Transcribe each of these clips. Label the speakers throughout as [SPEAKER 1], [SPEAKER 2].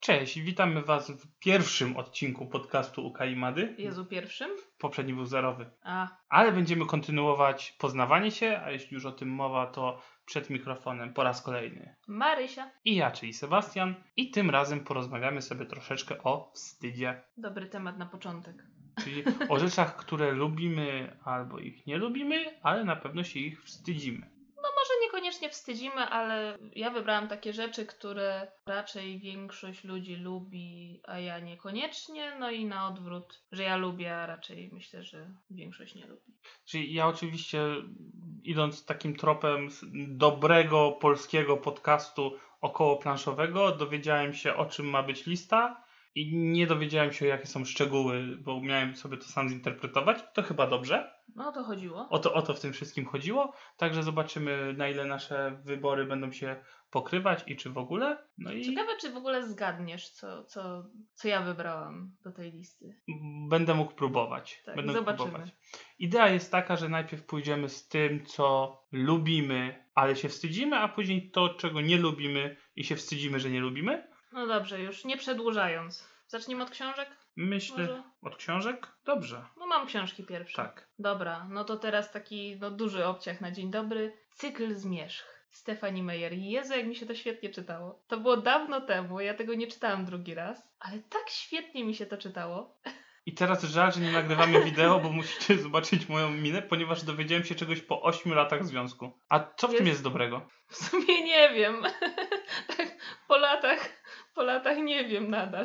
[SPEAKER 1] Cześć, witamy Was w pierwszym odcinku podcastu Ukaimady.
[SPEAKER 2] Jezu pierwszym?
[SPEAKER 1] Poprzedni był zerowy.
[SPEAKER 2] A,
[SPEAKER 1] Ale będziemy kontynuować poznawanie się, a jeśli już o tym mowa, to przed mikrofonem po raz kolejny.
[SPEAKER 2] Marysia.
[SPEAKER 1] I ja, czyli Sebastian. I tym razem porozmawiamy sobie troszeczkę o wstydzie.
[SPEAKER 2] Dobry temat na początek.
[SPEAKER 1] Czyli o rzeczach, które lubimy albo ich nie lubimy, ale na pewno się ich wstydzimy.
[SPEAKER 2] No może niekoniecznie wstydzimy, ale ja wybrałam takie rzeczy, które raczej większość ludzi lubi, a ja niekoniecznie. No i na odwrót, że ja lubię, a raczej myślę, że większość nie lubi.
[SPEAKER 1] Czyli ja oczywiście, idąc takim tropem s- dobrego polskiego podcastu okołoplanszowego, dowiedziałem się o czym ma być lista i nie dowiedziałem się jakie są szczegóły, bo miałem sobie to sam zinterpretować. To chyba dobrze.
[SPEAKER 2] No o to chodziło.
[SPEAKER 1] O to, o to w tym wszystkim chodziło. Także zobaczymy na ile nasze wybory będą się pokrywać i czy w ogóle. No i
[SPEAKER 2] Ciekawe, czy w ogóle zgadniesz, co, co, co ja wybrałam do tej listy.
[SPEAKER 1] będę mógł próbować.
[SPEAKER 2] Tak,
[SPEAKER 1] będę
[SPEAKER 2] zobaczymy.
[SPEAKER 1] Próbować. Idea jest taka, że najpierw pójdziemy z tym, co lubimy, ale się wstydzimy, a później to, czego nie lubimy i się wstydzimy, że nie lubimy.
[SPEAKER 2] No dobrze, już nie przedłużając. Zaczniemy od książek?
[SPEAKER 1] Myślę
[SPEAKER 2] Może?
[SPEAKER 1] od książek? Dobrze,
[SPEAKER 2] No mam książki pierwsze.
[SPEAKER 1] tak.
[SPEAKER 2] Dobra, no to teraz taki no, duży obciach na dzień dobry. Cykl zmierzch. Stefani Meyer. Jezu, jak mi się to świetnie czytało. To było dawno temu, ja tego nie czytałam drugi raz, ale tak świetnie mi się to czytało.
[SPEAKER 1] I teraz żal, że nie nagrywamy wideo, bo musicie zobaczyć moją minę, ponieważ dowiedziałem się czegoś po 8 latach związku. A co w tym
[SPEAKER 2] Jest-
[SPEAKER 1] jest dobrego?
[SPEAKER 2] W sumie nie wiem. tak, po latach, po latach nie wiem nadal.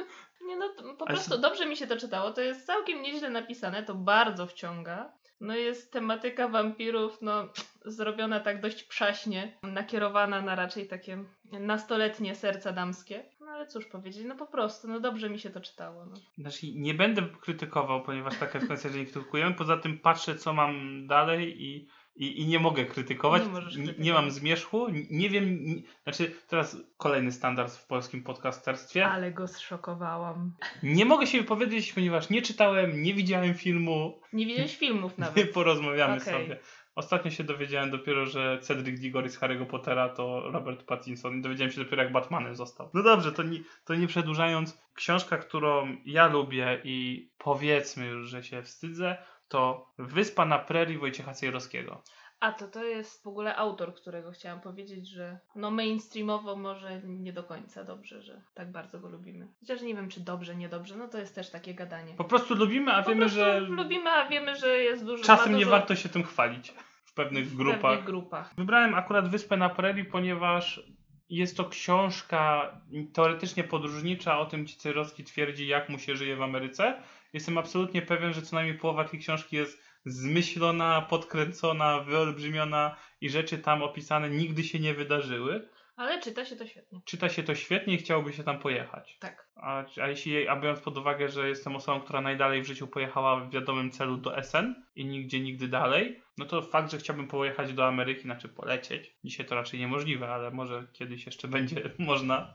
[SPEAKER 2] nie no, to po
[SPEAKER 1] Ale
[SPEAKER 2] prostu dobrze mi się to czytało. To jest całkiem nieźle napisane, to bardzo wciąga. No jest tematyka wampirów, no zrobiona tak dość przaśnie, nakierowana na raczej takie nastoletnie serca damskie. No ale cóż powiedzieć, no po prostu, no dobrze mi się to czytało. No.
[SPEAKER 1] Znaczy, nie będę krytykował, ponieważ taka jest koncepcja, że nie krytykujemy. Poza tym patrzę, co mam dalej i, i, i nie mogę krytykować.
[SPEAKER 2] Nie możesz
[SPEAKER 1] nie, nie
[SPEAKER 2] krytykować.
[SPEAKER 1] mam zmierzchu. n- Nie wiem. Nie, znaczy, teraz kolejny standard w polskim podcasterstwie.
[SPEAKER 2] Ale go zszokowałam.
[SPEAKER 1] Nie mogę się wypowiedzieć, ponieważ nie czytałem, nie widziałem filmu,
[SPEAKER 2] Nie widziałeś filmów
[SPEAKER 1] nie
[SPEAKER 2] nawet.
[SPEAKER 1] porozmawiamy
[SPEAKER 2] Okej.
[SPEAKER 1] sobie. Ostatnio się dowiedziałem dopiero, że Cedric Diggory z Harry'ego Pottera to Robert Pattinson i dowiedziałem się dopiero jak Batmanem został. No dobrze, to nie, to nie przedłużając, książka, którą ja lubię i powiedzmy już, że się wstydzę, to Wyspa na Prerii Wojciecha Cejrowskiego.
[SPEAKER 2] A to to jest w ogóle autor, którego chciałam powiedzieć, że no mainstreamowo może nie do końca dobrze, że tak bardzo go lubimy. Chociaż nie wiem, czy dobrze, niedobrze, no to jest też takie gadanie.
[SPEAKER 1] Po prostu lubimy, a
[SPEAKER 2] Po
[SPEAKER 1] wiemy,
[SPEAKER 2] prostu
[SPEAKER 1] że
[SPEAKER 2] lubimy, a wiemy, że jest dużo
[SPEAKER 1] czasem
[SPEAKER 2] ma
[SPEAKER 1] nie
[SPEAKER 2] dużo
[SPEAKER 1] warto się tym chwalić w pewnych
[SPEAKER 2] w
[SPEAKER 1] grupach.
[SPEAKER 2] pewnych grupach.
[SPEAKER 1] Wybrałem akurat Wyspę na Prerii, ponieważ jest to książka teoretycznie podróżnicza o tym, gdzie Cyrowski twierdzi, jak mu się żyje w Ameryce. Jestem absolutnie pewien, że co najmniej połowa tej książki jest zmyślona, podkręcona, wyolbrzymiona i rzeczy tam opisane nigdy się nie wydarzyły.
[SPEAKER 2] Ale czyta się to świetnie.
[SPEAKER 1] Czyta się to świetnie i chciałoby się tam pojechać.
[SPEAKER 2] Tak.
[SPEAKER 1] A, a jeśli, a biorąc pod uwagę, że jestem osobą, która najdalej w życiu pojechała w wiadomym celu do SN i nigdzie nigdy dalej, no to fakt, że chciałbym pojechać do Ameryki, znaczy polecieć, dzisiaj to raczej niemożliwe, ale może kiedyś jeszcze będzie można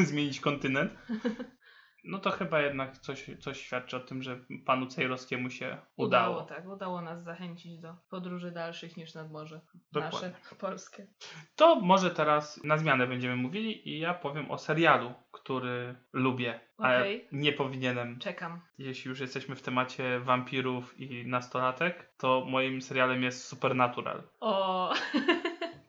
[SPEAKER 1] zmienić kontynent. No to chyba jednak coś, coś świadczy o tym, że panu Cejrowskiemu się udało.
[SPEAKER 2] tak. Udało nas zachęcić do podróży dalszych niż nad morze.
[SPEAKER 1] Dokładnie.
[SPEAKER 2] Nasze, polskie.
[SPEAKER 1] To może teraz na zmianę będziemy mówili i ja powiem o serialu, który lubię, ale
[SPEAKER 2] Okej.
[SPEAKER 1] nie powinienem
[SPEAKER 2] Czekam.
[SPEAKER 1] Jeśli już jesteśmy w temacie wampirów i nastolatek, to moim serialem jest Supernatural.
[SPEAKER 2] O,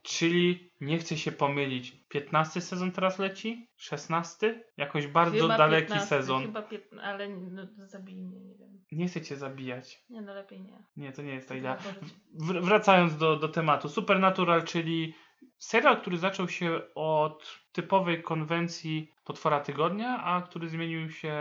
[SPEAKER 1] Czyli nie chcę się pomylić. 15 sezon teraz leci? 16? Jakoś bardzo
[SPEAKER 2] chyba
[SPEAKER 1] daleki
[SPEAKER 2] 15,
[SPEAKER 1] sezon.
[SPEAKER 2] Chyba 15, ale no, zabij mnie, nie wiem.
[SPEAKER 1] Nie chcę cię zabijać.
[SPEAKER 2] Nie, no lepiej nie.
[SPEAKER 1] Nie, to nie jest ta
[SPEAKER 2] Chcę
[SPEAKER 1] idea.
[SPEAKER 2] zobaczyć.
[SPEAKER 1] Wr- wracając do, do tematu, Supernatural, czyli serial, który zaczął się od typowej konwencji Potwora Tygodnia, a który zmienił się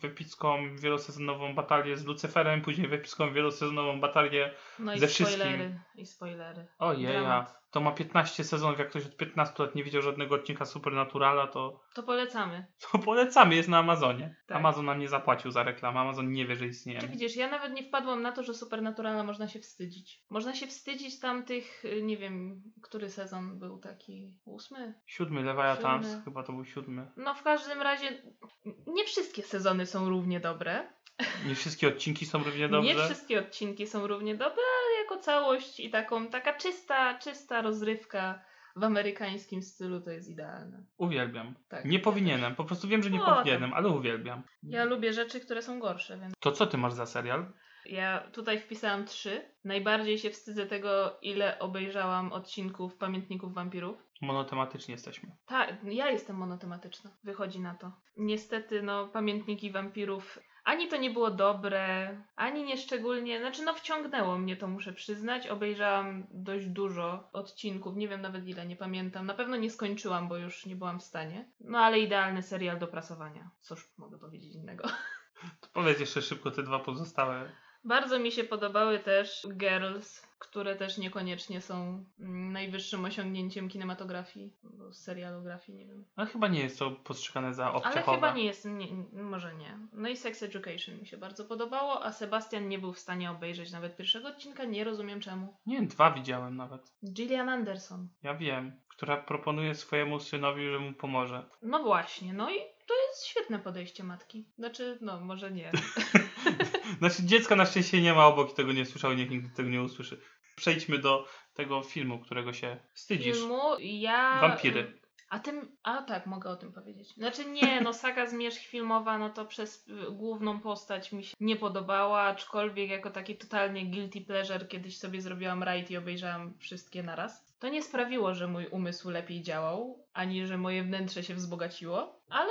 [SPEAKER 1] w epicką wielosezonową batalię z Lucyferem, później w epicką wielosezonową batalię
[SPEAKER 2] No i
[SPEAKER 1] ze wszystkim.
[SPEAKER 2] spoilery. I spoilery.
[SPEAKER 1] Ojeja,
[SPEAKER 2] Dramat.
[SPEAKER 1] to ma 15 sezonów, jak ktoś od 15 lat nie widział żadnego odcinka Supernaturala, to,
[SPEAKER 2] To polecamy.
[SPEAKER 1] to polecamy, jest na Amazonie.
[SPEAKER 2] Tak.
[SPEAKER 1] Amazon nam nie zapłacił za reklamę, Amazon nie wie, że
[SPEAKER 2] Czy
[SPEAKER 1] istniejemy.
[SPEAKER 2] widzisz, ja nawet nie wpadłam na to, że Supernaturalna można się wstydzić. Można się wstydzić tamtych, y, nie wiem, który sezon był taki, ósmy?
[SPEAKER 1] Siódmy, Levia
[SPEAKER 2] Siódmy.
[SPEAKER 1] Tams, chyba to był siódmy.
[SPEAKER 2] No w każdym razie, nie wszystkie sezony są równie dobre.
[SPEAKER 1] Nie wszystkie odcinki są równie dobrze.
[SPEAKER 2] Nie wszystkie odcinki są równie dobre, ale jako całość i taką, taka czysta, czysta rozrywka w amerykańskim stylu to jest idealne.
[SPEAKER 1] Uwielbiam.
[SPEAKER 2] Tak.
[SPEAKER 1] Nie powinienem, po prostu wiem, że nie
[SPEAKER 2] O, tak.
[SPEAKER 1] powinienem, ale uwielbiam.
[SPEAKER 2] Ja lubię rzeczy, które są gorsze, więc
[SPEAKER 1] To co ty masz za serial?
[SPEAKER 2] ja tutaj wpisałam trzy. Najbardziej się wstydzę tego, ile obejrzałam odcinków Pamiętników Wampirów.
[SPEAKER 1] Monotematycznie jesteśmy.
[SPEAKER 2] Tak, ja jestem monotematyczna. Wychodzi na to. Niestety, no, pamiętniki wampirów. Ani to nie było dobre, ani nieszczególnie. Znaczy, no, wciągnęło mnie to, muszę przyznać. Obejrzałam dość dużo odcinków, nie wiem nawet ile, nie pamiętam. Na pewno nie skończyłam, bo już nie byłam w stanie. No, ale idealny serial do prasowania. Cóż mogę powiedzieć innego.
[SPEAKER 1] To powiedz jeszcze szybko te dwa pozostałe.
[SPEAKER 2] Bardzo mi się podobały też Girls, które też niekoniecznie są mm, najwyższym osiągnięciem kinematografii, bo serialografii, nie wiem.
[SPEAKER 1] No chyba nie jest to postrzegane za
[SPEAKER 2] Ale
[SPEAKER 1] obciachowe.
[SPEAKER 2] chyba nie jest, nie, może nie. No i Sex Education mi się bardzo podobało, a Sebastian nie był w stanie obejrzeć nawet pierwszego odcinka, nie rozumiem czemu.
[SPEAKER 1] Nie, dwa widziałem nawet.
[SPEAKER 2] Gillian Anderson.
[SPEAKER 1] Ja wiem. Która proponuje swojemu synowi, że mu pomoże.
[SPEAKER 2] No właśnie, no i to jest świetne podejście matki. Znaczy, no może nie.
[SPEAKER 1] Znaczy dziecko na szczęście nie ma obok i tego nie słyszał i nikt nigdy tego nie usłyszy. Przejdźmy do tego filmu, którego się wstydzisz.
[SPEAKER 2] Filmu ja...
[SPEAKER 1] Wampiry.
[SPEAKER 2] A tym, a tak, mogę o tym powiedzieć. Znaczy nie, no saga Zmierzch filmowa, no to przez y, główną postać mi się nie podobała, aczkolwiek jako taki totalnie guilty pleasure kiedyś sobie zrobiłam raid i obejrzałam wszystkie naraz. To nie sprawiło, że mój umysł lepiej działał, ani że moje wnętrze się wzbogaciło, ale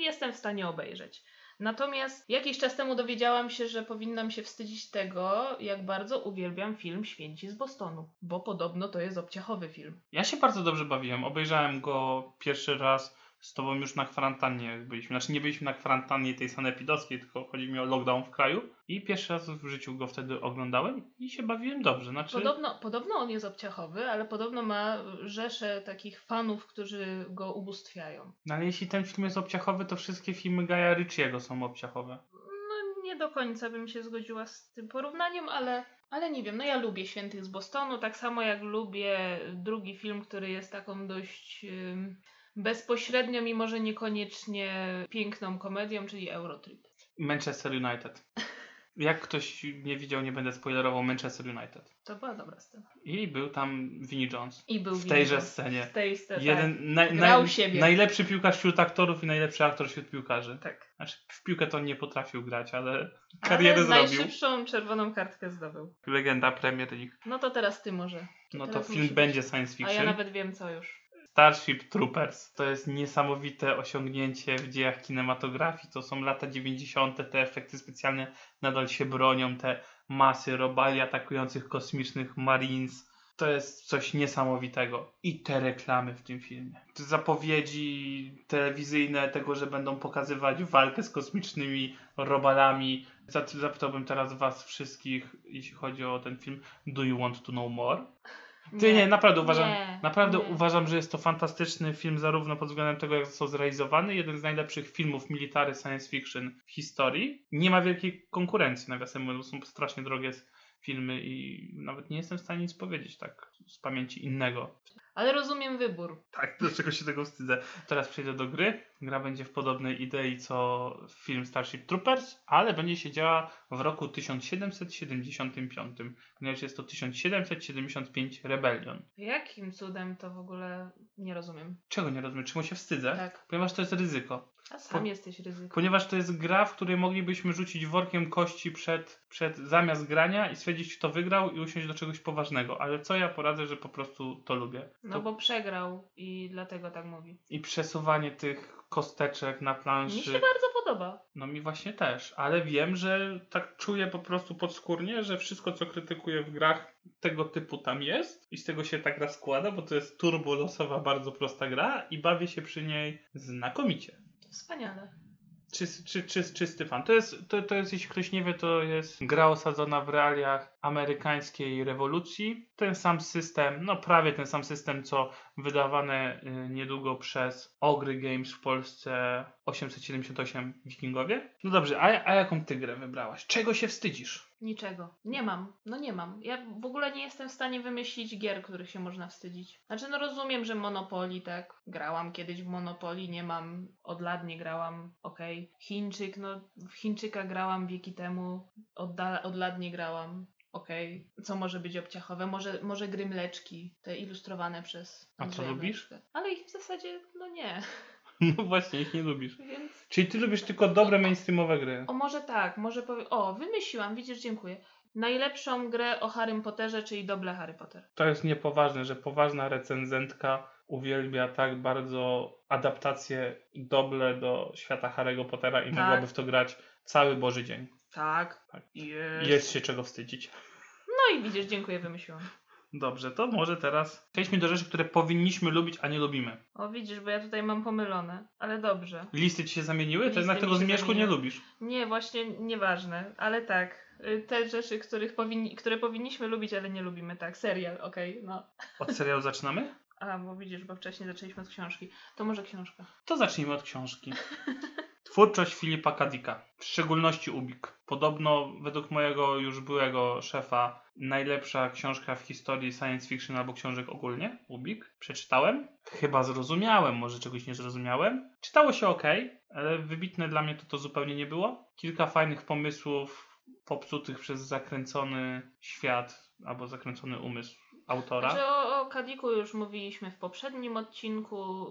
[SPEAKER 2] jestem w stanie obejrzeć. Natomiast jakiś czas temu dowiedziałam się, że powinnam się wstydzić tego, jak bardzo uwielbiam film Święci z Bostonu, bo podobno to jest obciachowy film.
[SPEAKER 1] Ja się bardzo dobrze bawiłem. Obejrzałem go pierwszy raz z tobą już na kwarantannie jak byliśmy. Znaczy nie byliśmy na kwarantannie tej sanepidowskiej, tylko chodzi mi o lockdown w kraju. I pierwszy raz w życiu go wtedy oglądałem i się bawiłem dobrze. Znaczy,
[SPEAKER 2] Podobno, podobno on jest obciachowy, ale podobno ma rzeszę takich fanów, którzy go ubóstwiają.
[SPEAKER 1] no ale jeśli ten film jest obciachowy, to wszystkie filmy Gaja Ritchiego są obciachowe.
[SPEAKER 2] No nie do końca bym się zgodziła z tym porównaniem, ale, ale nie wiem, no ja lubię Świętych z Bostonu, tak samo jak lubię drugi film, który jest taką dość ym, bezpośrednio, mimo że niekoniecznie piękną komedią, czyli Eurotrip.
[SPEAKER 1] Manchester United. Jak ktoś nie widział, nie będę spoilerował Manchester United.
[SPEAKER 2] To była dobra scena.
[SPEAKER 1] I był tam Vinnie Jones.
[SPEAKER 2] I był
[SPEAKER 1] W tejże
[SPEAKER 2] Winnie.
[SPEAKER 1] scenie.
[SPEAKER 2] W tej scenie.
[SPEAKER 1] Jeden naj-
[SPEAKER 2] Tak. Grał
[SPEAKER 1] naj-
[SPEAKER 2] siebie.
[SPEAKER 1] najlepszy piłkarz wśród aktorów i najlepszy aktor wśród piłkarzy.
[SPEAKER 2] Tak.
[SPEAKER 1] Znaczy, w piłkę to on nie potrafił grać, ale karierę
[SPEAKER 2] Ale
[SPEAKER 1] zrobił.
[SPEAKER 2] najszybszą czerwoną kartkę zdobył.
[SPEAKER 1] Legenda Premier League.
[SPEAKER 2] No to teraz ty może.
[SPEAKER 1] No to
[SPEAKER 2] teraz
[SPEAKER 1] film
[SPEAKER 2] musi
[SPEAKER 1] będzie science
[SPEAKER 2] A ja
[SPEAKER 1] fiction.
[SPEAKER 2] nawet wiem co już.
[SPEAKER 1] Starship Troopers. To jest niesamowite osiągnięcie w dziejach kinematografii. To są lata 90. Te efekty specjalne nadal się bronią. Te masy robali atakujących kosmicznych Marines. To jest coś niesamowitego. I te reklamy w tym filmie. Te zapowiedzi telewizyjne tego, że będą pokazywać walkę z kosmicznymi robalami. Za- Zapytałbym teraz was wszystkich, jeśli chodzi o ten film. Do you want to know more? Ty nie, naprawdę uważam,
[SPEAKER 2] Nie,
[SPEAKER 1] naprawdę
[SPEAKER 2] nie.
[SPEAKER 1] uważam, że jest to fantastyczny film zarówno pod względem tego, jak został zrealizowany, jeden z najlepszych filmów military science fiction w historii. Nie ma wielkiej konkurencji, nawiasem mówiąc, są strasznie drogie s- filmy i nawet nie jestem w stanie nic powiedzieć tak z pamięci innego.
[SPEAKER 2] Ale rozumiem wybór.
[SPEAKER 1] Tak, dlaczego się tego wstydzę? Teraz przejdę do gry. Gra będzie w podobnej idei co film Starship Troopers, ale będzie się działa w roku 1775, ponieważ jest to 1775 Rebellion.
[SPEAKER 2] Jakim cudem to w ogóle nie rozumiem.
[SPEAKER 1] Czego nie rozumiem? Czemu się wstydzę?
[SPEAKER 2] Tak.
[SPEAKER 1] Ponieważ to jest ryzyko.
[SPEAKER 2] A sam
[SPEAKER 1] Po-
[SPEAKER 2] jesteś ryzyko.
[SPEAKER 1] Ponieważ to jest gra, w której moglibyśmy rzucić workiem kości przed, przed zamiast grania i stwierdzić, kto wygrał i usiąść do czegoś poważnego. Ale co ja poradzę, że po prostu to lubię.
[SPEAKER 2] No
[SPEAKER 1] to...
[SPEAKER 2] bo przegrał i dlatego tak mówi.
[SPEAKER 1] I przesuwanie tych kosteczek na
[SPEAKER 2] Mi się
[SPEAKER 1] planszy.
[SPEAKER 2] bardzo podoba.
[SPEAKER 1] No mi właśnie też, ale wiem, że tak czuję po prostu podskórnie, że wszystko, co krytykuję w grach, tego typu tam jest i z tego się tak składa, bo to jest turbo losowa, bardzo prosta gra i bawię się przy niej znakomicie.
[SPEAKER 2] Wspaniale.
[SPEAKER 1] Czy, czy, czy, czysty fan. To jest, to, to jest, jeśli ktoś nie wie, to jest gra osadzona w realiach amerykańskiej rewolucji. Ten sam system, no prawie ten sam system, co wydawane y, niedługo przez Ogry Games w Polsce 878 Wikingowie. No dobrze, a, a jaką ty grę wybrałaś? Czego się wstydzisz?
[SPEAKER 2] Niczego. Nie mam. No nie mam. Ja w ogóle nie jestem w stanie wymyślić gier, których się można wstydzić. Znaczy, no rozumiem, że Monopoly, tak. Grałam kiedyś w Monopoly, nie mam. Od lat nie grałam. Okej. Chińczyk, no w Chińczyka grałam wieki temu. Od, da- od lat nie grałam. okej, co może być obciachowe? Może, może gry mleczki, te ilustrowane przez
[SPEAKER 1] A co
[SPEAKER 2] Andrzeja
[SPEAKER 1] lubisz?
[SPEAKER 2] Mleczkę. Ale ich w zasadzie, no nie,
[SPEAKER 1] No właśnie, ich nie lubisz.
[SPEAKER 2] więc...
[SPEAKER 1] Czyli ty lubisz tylko dobre mainstreamowe gry.
[SPEAKER 2] O, może tak, może powiem. O, wymyśliłam, widzisz, dziękuję. Najlepszą grę o Harrym Potterze, czyli doble Harry Potter.
[SPEAKER 1] To jest niepoważne, że poważna recenzentka uwielbia tak bardzo adaptację doble do świata Harry'ego Pottera i
[SPEAKER 2] Tak.
[SPEAKER 1] mogłaby w to grać cały Boży dzień.
[SPEAKER 2] Tak.
[SPEAKER 1] Tak.
[SPEAKER 2] Jest.
[SPEAKER 1] Jest się czego wstydzić.
[SPEAKER 2] No i widzisz, dziękuję, wymyśliłam.
[SPEAKER 1] Dobrze, to może teraz przejdźmy do rzeczy, które powinniśmy lubić, a nie lubimy.
[SPEAKER 2] O, widzisz, bo ja tutaj mam pomylone, ale dobrze.
[SPEAKER 1] Listy ci się zamieniły? to
[SPEAKER 2] Listy
[SPEAKER 1] jednak
[SPEAKER 2] mi
[SPEAKER 1] tego
[SPEAKER 2] się
[SPEAKER 1] zmierzchu nie
[SPEAKER 2] zamieniły.
[SPEAKER 1] lubisz.
[SPEAKER 2] Nie, właśnie nieważne, ale tak. Y, Te rzeczy, których powinni, które powinniśmy lubić, ale nie lubimy, tak. Serial, okej, no.
[SPEAKER 1] Od serialu zaczynamy?
[SPEAKER 2] A, bo widzisz, bo wcześniej zaczęliśmy od książki. To może książka.
[SPEAKER 1] To zacznijmy od książki. Twórczość Filipa Kadika, w szczególności Ubik. Podobno, według mojego już byłego szefa, najlepsza książka w historii science fiction albo książek ogólnie, Ubik. Przeczytałem, chyba zrozumiałem, może czegoś nie zrozumiałem. Czytało się ok, ale wybitne dla mnie to to zupełnie nie było. Kilka fajnych pomysłów popsutych przez zakręcony świat albo zakręcony umysł autora.
[SPEAKER 2] Znaczy o, o Kadiku już mówiliśmy w poprzednim odcinku.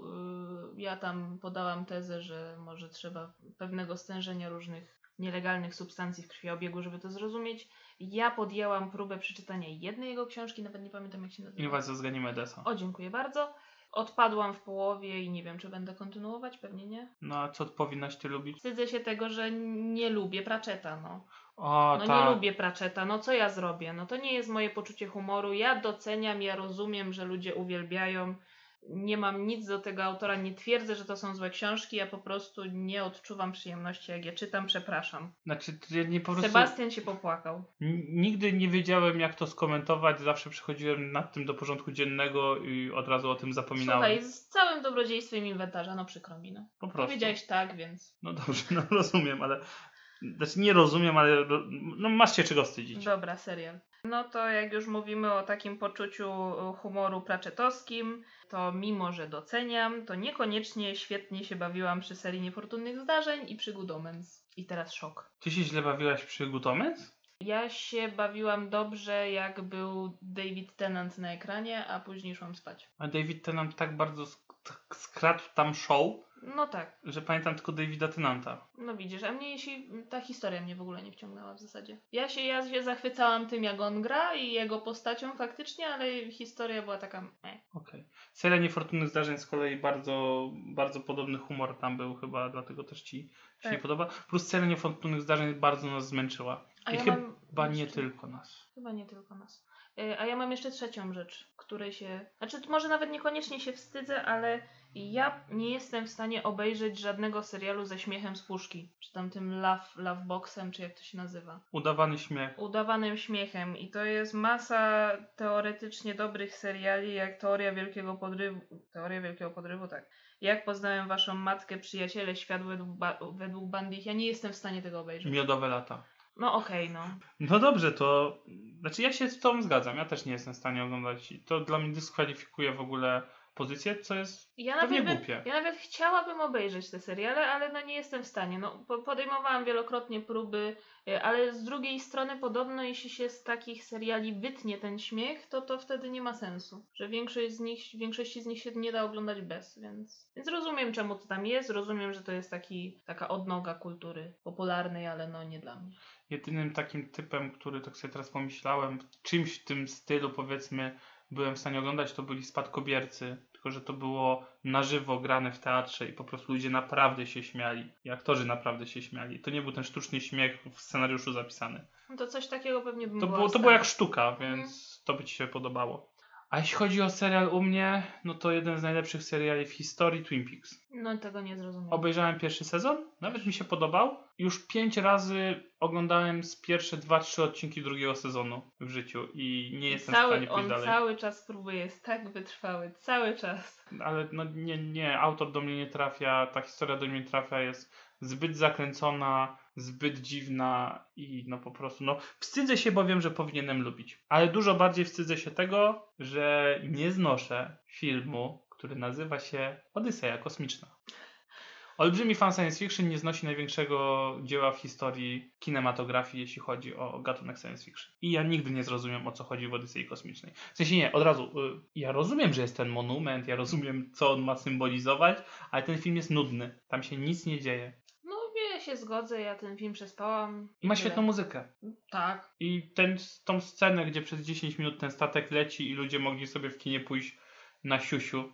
[SPEAKER 2] Yy, Ja tam podałam tezę, że może trzeba pewnego stężenia różnych nielegalnych substancji w krwiobiegu, żeby to zrozumieć. Ja podjęłam próbę przeczytania jednej jego książki, nawet nie pamiętam jak się nazywa.
[SPEAKER 1] Inwazja z Ganymedesa.
[SPEAKER 2] O, dziękuję bardzo. Odpadłam w połowie i nie wiem, czy będę kontynuować, pewnie nie.
[SPEAKER 1] No a co powinnaś ty lubić?
[SPEAKER 2] Wstydzę się tego, że nie lubię Pratchetta, no.
[SPEAKER 1] O,
[SPEAKER 2] No
[SPEAKER 1] tak.
[SPEAKER 2] nie lubię Pratchetta, no co ja zrobię? No to nie jest moje poczucie humoru. Ja doceniam, ja rozumiem, że ludzie uwielbiają. Nie mam nic do tego autora, nie twierdzę, że to są złe książki, ja po prostu nie odczuwam przyjemności, jak je czytam, przepraszam.
[SPEAKER 1] Znaczy, to ja nie po prostu.
[SPEAKER 2] Sebastian się popłakał.
[SPEAKER 1] N- Nigdy nie wiedziałem, jak to skomentować. Zawsze przychodziłem nad tym do porządku dziennego i od razu o tym zapominałem.
[SPEAKER 2] Słuchaj, z całym dobrodziejstwem inwentarza, no przykro mi, no.
[SPEAKER 1] po prostu.
[SPEAKER 2] Powiedziałeś tak, więc
[SPEAKER 1] No dobrze, no rozumiem, ale. Znaczy, nie rozumiem, ale. ro- No masz się czego wstydzić.
[SPEAKER 2] dobra, serial. No to jak już mówimy o takim poczuciu y, humoru praczetowskim, to mimo, że doceniam, to niekoniecznie świetnie się bawiłam przy serii Niefortunnych Zdarzeń i Przygód Omens. I teraz szok.
[SPEAKER 1] Ty się źle bawiłaś przy Gutomens?
[SPEAKER 2] Ja się bawiłam dobrze, jak był David Tennant na ekranie, a później szłam spać.
[SPEAKER 1] A David Tennant tak bardzo sk- tak skradł tam show,
[SPEAKER 2] No tak,
[SPEAKER 1] że pamiętam tylko Davida Tennanta.
[SPEAKER 2] no widzisz, a mnie jeśli ta historia mnie w ogóle nie wciągnęła w zasadzie. Ja się, ja się zachwycałam tym, jak on gra i jego postacią faktycznie, ale historia była taka. Eh.
[SPEAKER 1] Okej. Seria niefortunnych zdarzeń z kolei bardzo, bardzo podobny humor tam był chyba, dlatego też ci się
[SPEAKER 2] Tak.
[SPEAKER 1] nie podoba. Plus seria niefortunnych zdarzeń bardzo nas zmęczyła.
[SPEAKER 2] A
[SPEAKER 1] I
[SPEAKER 2] ja
[SPEAKER 1] chyba
[SPEAKER 2] mam
[SPEAKER 1] Chyba nie
[SPEAKER 2] jeszcze-
[SPEAKER 1] tylko nas.
[SPEAKER 2] Chyba nie tylko nas. E, A ja mam jeszcze trzecią rzecz, której się. Znaczy, to może nawet niekoniecznie się wstydzę, ale ja nie jestem w stanie obejrzeć żadnego serialu ze śmiechem z puszki. Czy tam tym love, love boxem, czy jak to się nazywa.
[SPEAKER 1] Udawany śmiech.
[SPEAKER 2] Udawanym śmiechem. I to jest masa teoretycznie dobrych seriali, jak Teoria Wielkiego Podrywu. Teoria Wielkiego Podrywu, tak. Jak poznałem waszą matkę, przyjaciele, świat według, ba- według Bandich. Ja nie jestem w stanie tego obejrzeć.
[SPEAKER 1] Miodowe lata.
[SPEAKER 2] No okej, no.
[SPEAKER 1] No dobrze, to znaczy ja się z tą zgadzam. Ja też nie jestem w stanie oglądać. i To dla mnie dyskwalifikuje w ogóle pozycję, co jest
[SPEAKER 2] Ja
[SPEAKER 1] pewnie
[SPEAKER 2] nawet bym
[SPEAKER 1] głupie.
[SPEAKER 2] Ja nawet chciałabym obejrzeć te seriale, ale no nie jestem w stanie. No, po- podejmowałam wielokrotnie próby, y, ale z drugiej strony podobno jeśli się z takich seriali wytnie ten śmiech, to to wtedy nie ma sensu. Że większość z nich, większości z nich się nie da oglądać bez, więc, więc rozumiem czemu to tam jest, rozumiem, że to jest taki, taka odnoga kultury popularnej, ale no nie dla mnie.
[SPEAKER 1] Jedynym takim typem, który tak sobie teraz pomyślałem, czymś w tym stylu powiedzmy byłem w stanie oglądać, to byli spadkobiercy. Tylko, że to było na żywo grane w teatrze i po prostu ludzie naprawdę się śmiali. I aktorzy naprawdę się śmiali. To nie był ten sztuczny śmiech w scenariuszu zapisany.
[SPEAKER 2] No to coś takiego pewnie bym
[SPEAKER 1] To
[SPEAKER 2] była
[SPEAKER 1] było,
[SPEAKER 2] w
[SPEAKER 1] to było jak
[SPEAKER 2] stanie.
[SPEAKER 1] sztuka,
[SPEAKER 2] Mhm.
[SPEAKER 1] więc to by ci się podobało. A jeśli chodzi o serial u mnie, no to jeden z najlepszych seriali w historii Twin Peaks.
[SPEAKER 2] No tego nie zrozumiałam.
[SPEAKER 1] Obejrzałem pierwszy sezon, nawet mi się podobał. Już pięć razy oglądałem z pierwsze dwa, trzy odcinki drugiego sezonu w życiu i nie jestem w
[SPEAKER 2] cały,
[SPEAKER 1] stanie pójść
[SPEAKER 2] on
[SPEAKER 1] dalej.
[SPEAKER 2] cały czas próbuje, jest tak wytrwały, cały czas.
[SPEAKER 1] Ale no nie, nie, autor do mnie nie trafia, ta historia do mnie nie trafia, jest zbyt zakręcona, zbyt dziwna i no po prostu, no wstydzę się, bo wiem, że powinienem lubić. Ale dużo bardziej wstydzę się tego, że nie znoszę filmu, który nazywa się Odyseja Kosmiczna. Olbrzymi fan science fiction nie znosi największego dzieła w historii kinematografii, jeśli chodzi o gatunek science fiction. I ja nigdy nie zrozumiem, o co chodzi w Odysei Kosmicznej. W sensie nie, od razu, y, ja rozumiem, że jest ten monument, ja rozumiem, co on ma symbolizować, ale ten film jest nudny. Tam się nic nie dzieje.
[SPEAKER 2] No ja się zgodzę, ja ten film przespałam.
[SPEAKER 1] I ma
[SPEAKER 2] Tyle.
[SPEAKER 1] świetną muzykę.
[SPEAKER 2] Tak.
[SPEAKER 1] I ten, tą scenę, gdzie przez 10 minut ten statek leci i ludzie mogli sobie w kinie pójść na siusiu,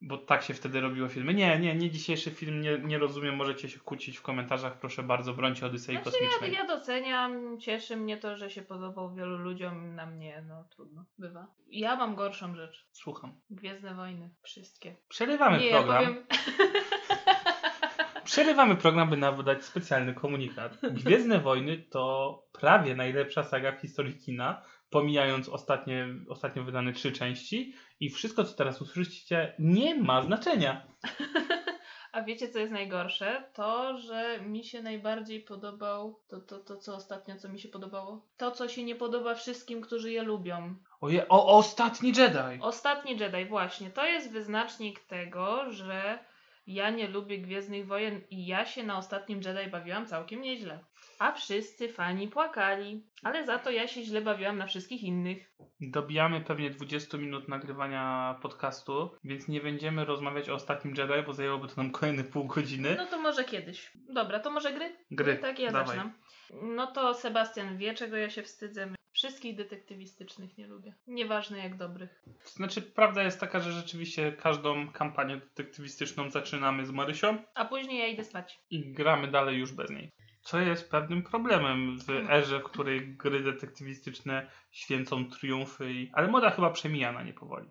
[SPEAKER 1] bo tak się wtedy robiło filmy. Nie, nie, nie dzisiejszy film, nie, nie rozumiem, możecie się kłócić w komentarzach, proszę bardzo, brońcie Odysei
[SPEAKER 2] Znaczy ja,
[SPEAKER 1] Kosmicznej.
[SPEAKER 2] ja doceniam, cieszy mnie to, że się podobał wielu ludziom, na mnie, no trudno, bywa. Ja mam gorszą rzecz.
[SPEAKER 1] Słucham.
[SPEAKER 2] Gwiezdne Wojny, wszystkie.
[SPEAKER 1] Przerywamy
[SPEAKER 2] Nie, ja
[SPEAKER 1] program.
[SPEAKER 2] powiem...
[SPEAKER 1] Przerywamy program, by nam wydać specjalny komunikat. Gwiezdne Wojny to prawie najlepsza saga w historii kina, pomijając ostatnie, ostatnio wydane trzy części i wszystko, co teraz usłyszycie, nie ma znaczenia.
[SPEAKER 2] A wiecie, co jest najgorsze? To, że mi się najbardziej podobał, to, to, to co ostatnio, co mi się podobało? To, co się nie podoba wszystkim, którzy je lubią.
[SPEAKER 1] Oje, o, ostatni Jedi!
[SPEAKER 2] Ostatni Jedi, właśnie. To jest wyznacznik tego, że ja nie lubię Gwiezdnych Wojen i ja się na ostatnim Jedi bawiłam całkiem nieźle. A wszyscy fani płakali, ale za to ja się źle bawiłam na wszystkich innych.
[SPEAKER 1] Dobijamy pewnie 20 minut nagrywania podcastu, więc nie będziemy rozmawiać o ostatnim Jedi, bo zajęłoby to nam kolejne pół godziny.
[SPEAKER 2] No to może kiedyś. Dobra, to może gry?
[SPEAKER 1] Gry,
[SPEAKER 2] Tak, ja
[SPEAKER 1] dawaj.
[SPEAKER 2] zaczynam. No to Sebastian wie, czego ja się wstydzę. Wszystkich detektywistycznych nie lubię. Nieważne jak dobrych.
[SPEAKER 1] Znaczy, prawda jest taka, że rzeczywiście każdą kampanię detektywistyczną zaczynamy z Marysią
[SPEAKER 2] A później ja idę spać.
[SPEAKER 1] i gramy dalej już bez niej. Co jest pewnym problemem w erze, w której gry detektywistyczne święcą triumfy, i... ale moda chyba przemija na nie powoli.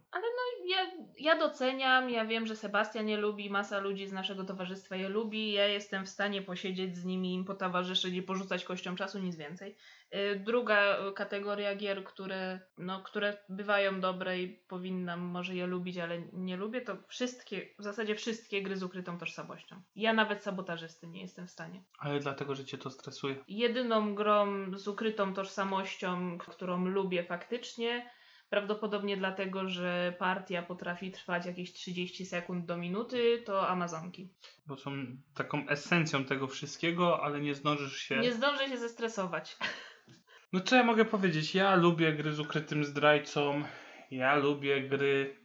[SPEAKER 2] ja, ja doceniam, ja wiem, że Sebastian je lubi, masa ludzi z naszego towarzystwa je lubi, ja jestem w stanie posiedzieć z nimi, im potowarzyszyć i porzucać kością czasu, nic więcej. Y, Druga y, kategoria gier, które, no, które bywają dobre i powinnam może je lubić, ale nie lubię, to wszystkie, w zasadzie wszystkie gry z ukrytą tożsamością. Ja nawet sabotażysty nie jestem w stanie
[SPEAKER 1] Ale dlatego, że cię to stresuje.
[SPEAKER 2] jedyną grą z ukrytą tożsamością, którą lubię faktycznie. Prawdopodobnie dlatego, że partia potrafi trwać jakieś 30 sekund do minuty, to Amazonki.
[SPEAKER 1] Bo są taką esencją tego wszystkiego, ale nie zdążysz się.
[SPEAKER 2] Nie zdążę się zestresować.
[SPEAKER 1] No co ja mogę powiedzieć? Ja lubię gry z ukrytym zdrajcą, ja lubię gry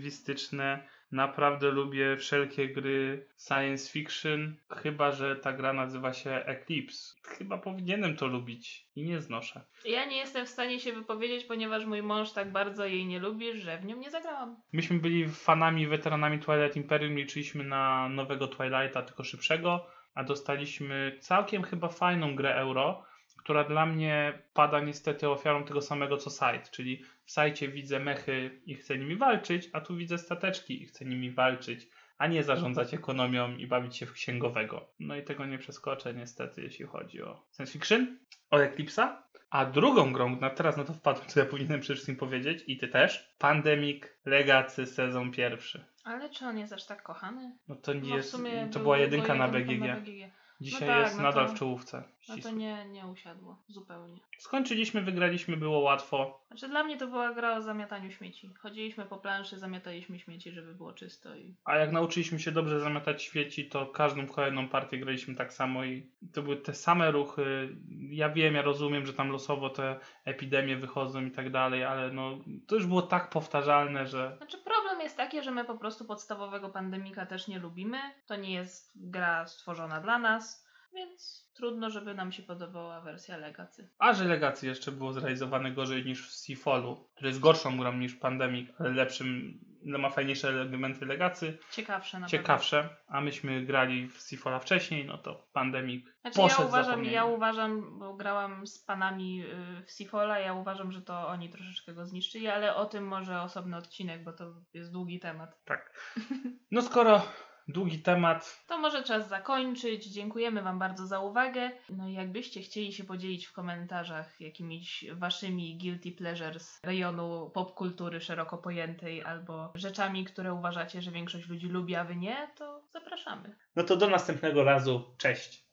[SPEAKER 1] detektywistyczne, naprawdę lubię wszelkie gry science fiction, chyba że ta gra nazywa się Eclipse. Chyba powinienem to lubić i nie znoszę.
[SPEAKER 2] Ja nie jestem w stanie się wypowiedzieć, ponieważ mój mąż tak bardzo jej nie lubi, że w nią nie zagrałam.
[SPEAKER 1] Myśmy byli fanami, weteranami Twilight Imperium, liczyliśmy na nowego Twilighta, tylko szybszego, a dostaliśmy całkiem chyba fajną grę euro, która dla mnie pada niestety ofiarą tego samego co Side, czyli w Sajcie widzę mechy i chcę nimi walczyć, a tu widzę stateczki i chcę nimi walczyć, a nie zarządzać ekonomią i bawić się w księgowego. No i tego nie przeskoczę niestety, jeśli chodzi o science fiction, o Eclipsa. A drugą grą, na teraz na to wpadłem, co ja powinienem przede wszystkim powiedzieć, i ty też, Pandemic Legacy sezon pierwszy.
[SPEAKER 2] Ale czy on jest aż tak kochany?
[SPEAKER 1] No to nie
[SPEAKER 2] No w
[SPEAKER 1] jest,
[SPEAKER 2] sumie
[SPEAKER 1] to
[SPEAKER 2] był-
[SPEAKER 1] była
[SPEAKER 2] była
[SPEAKER 1] jedynka na
[SPEAKER 2] jedynką
[SPEAKER 1] BGG.
[SPEAKER 2] BGG.
[SPEAKER 1] Dzisiaj
[SPEAKER 2] tak,
[SPEAKER 1] jest
[SPEAKER 2] no
[SPEAKER 1] nadal
[SPEAKER 2] to-
[SPEAKER 1] w czołówce.
[SPEAKER 2] No to
[SPEAKER 1] ścisłej.
[SPEAKER 2] nie, nie usiadło zupełnie.
[SPEAKER 1] Skończyliśmy, wygraliśmy, było łatwo.
[SPEAKER 2] Znaczy dla mnie to była gra o zamiataniu śmieci. Chodziliśmy po planszy, zamiataliśmy śmieci, żeby było czysto i
[SPEAKER 1] A jak nauczyliśmy się dobrze zamiatać świeci, to każdą kolejną partię graliśmy tak samo i to były te same ruchy. Ja wiem, ja rozumiem, że tam losowo te epidemie wychodzą i tak dalej, ale no to już było tak powtarzalne, że
[SPEAKER 2] Znaczy problem jest taki, że my po prostu podstawowego pandemika też nie lubimy. To nie jest gra stworzona dla nas, więc trudno, żeby nam się podobała wersja Legacy.
[SPEAKER 1] A że Legacy jeszcze było zrealizowane gorzej niż w Seafallu, który jest gorszą grą niż Pandemic, ale lepszym, no ma fajniejsze elementy Legacy,
[SPEAKER 2] Ciekawsze na
[SPEAKER 1] ciekawsze, a myśmy grali w Seafalla wcześniej, no to Pandemic
[SPEAKER 2] pewno. Znaczy
[SPEAKER 1] poszedł
[SPEAKER 2] ja uważam,
[SPEAKER 1] zapomnienie.
[SPEAKER 2] ja uważam, bo grałam z panami y, w Sifola, ja uważam, że to oni troszeczkę go zniszczyli, ale o tym może osobny odcinek, bo to jest długi temat.
[SPEAKER 1] Tak. No skoro długi temat,
[SPEAKER 2] To może czas zakończyć. Dziękujemy Wam bardzo za uwagę. No i jakbyście chcieli się podzielić w komentarzach jakimiś waszymi guilty pleasures rejonu popkultury szeroko pojętej albo rzeczami, które uważacie, że większość ludzi lubi, a wy nie, to zapraszamy.
[SPEAKER 1] no to do następnego razu, cześć.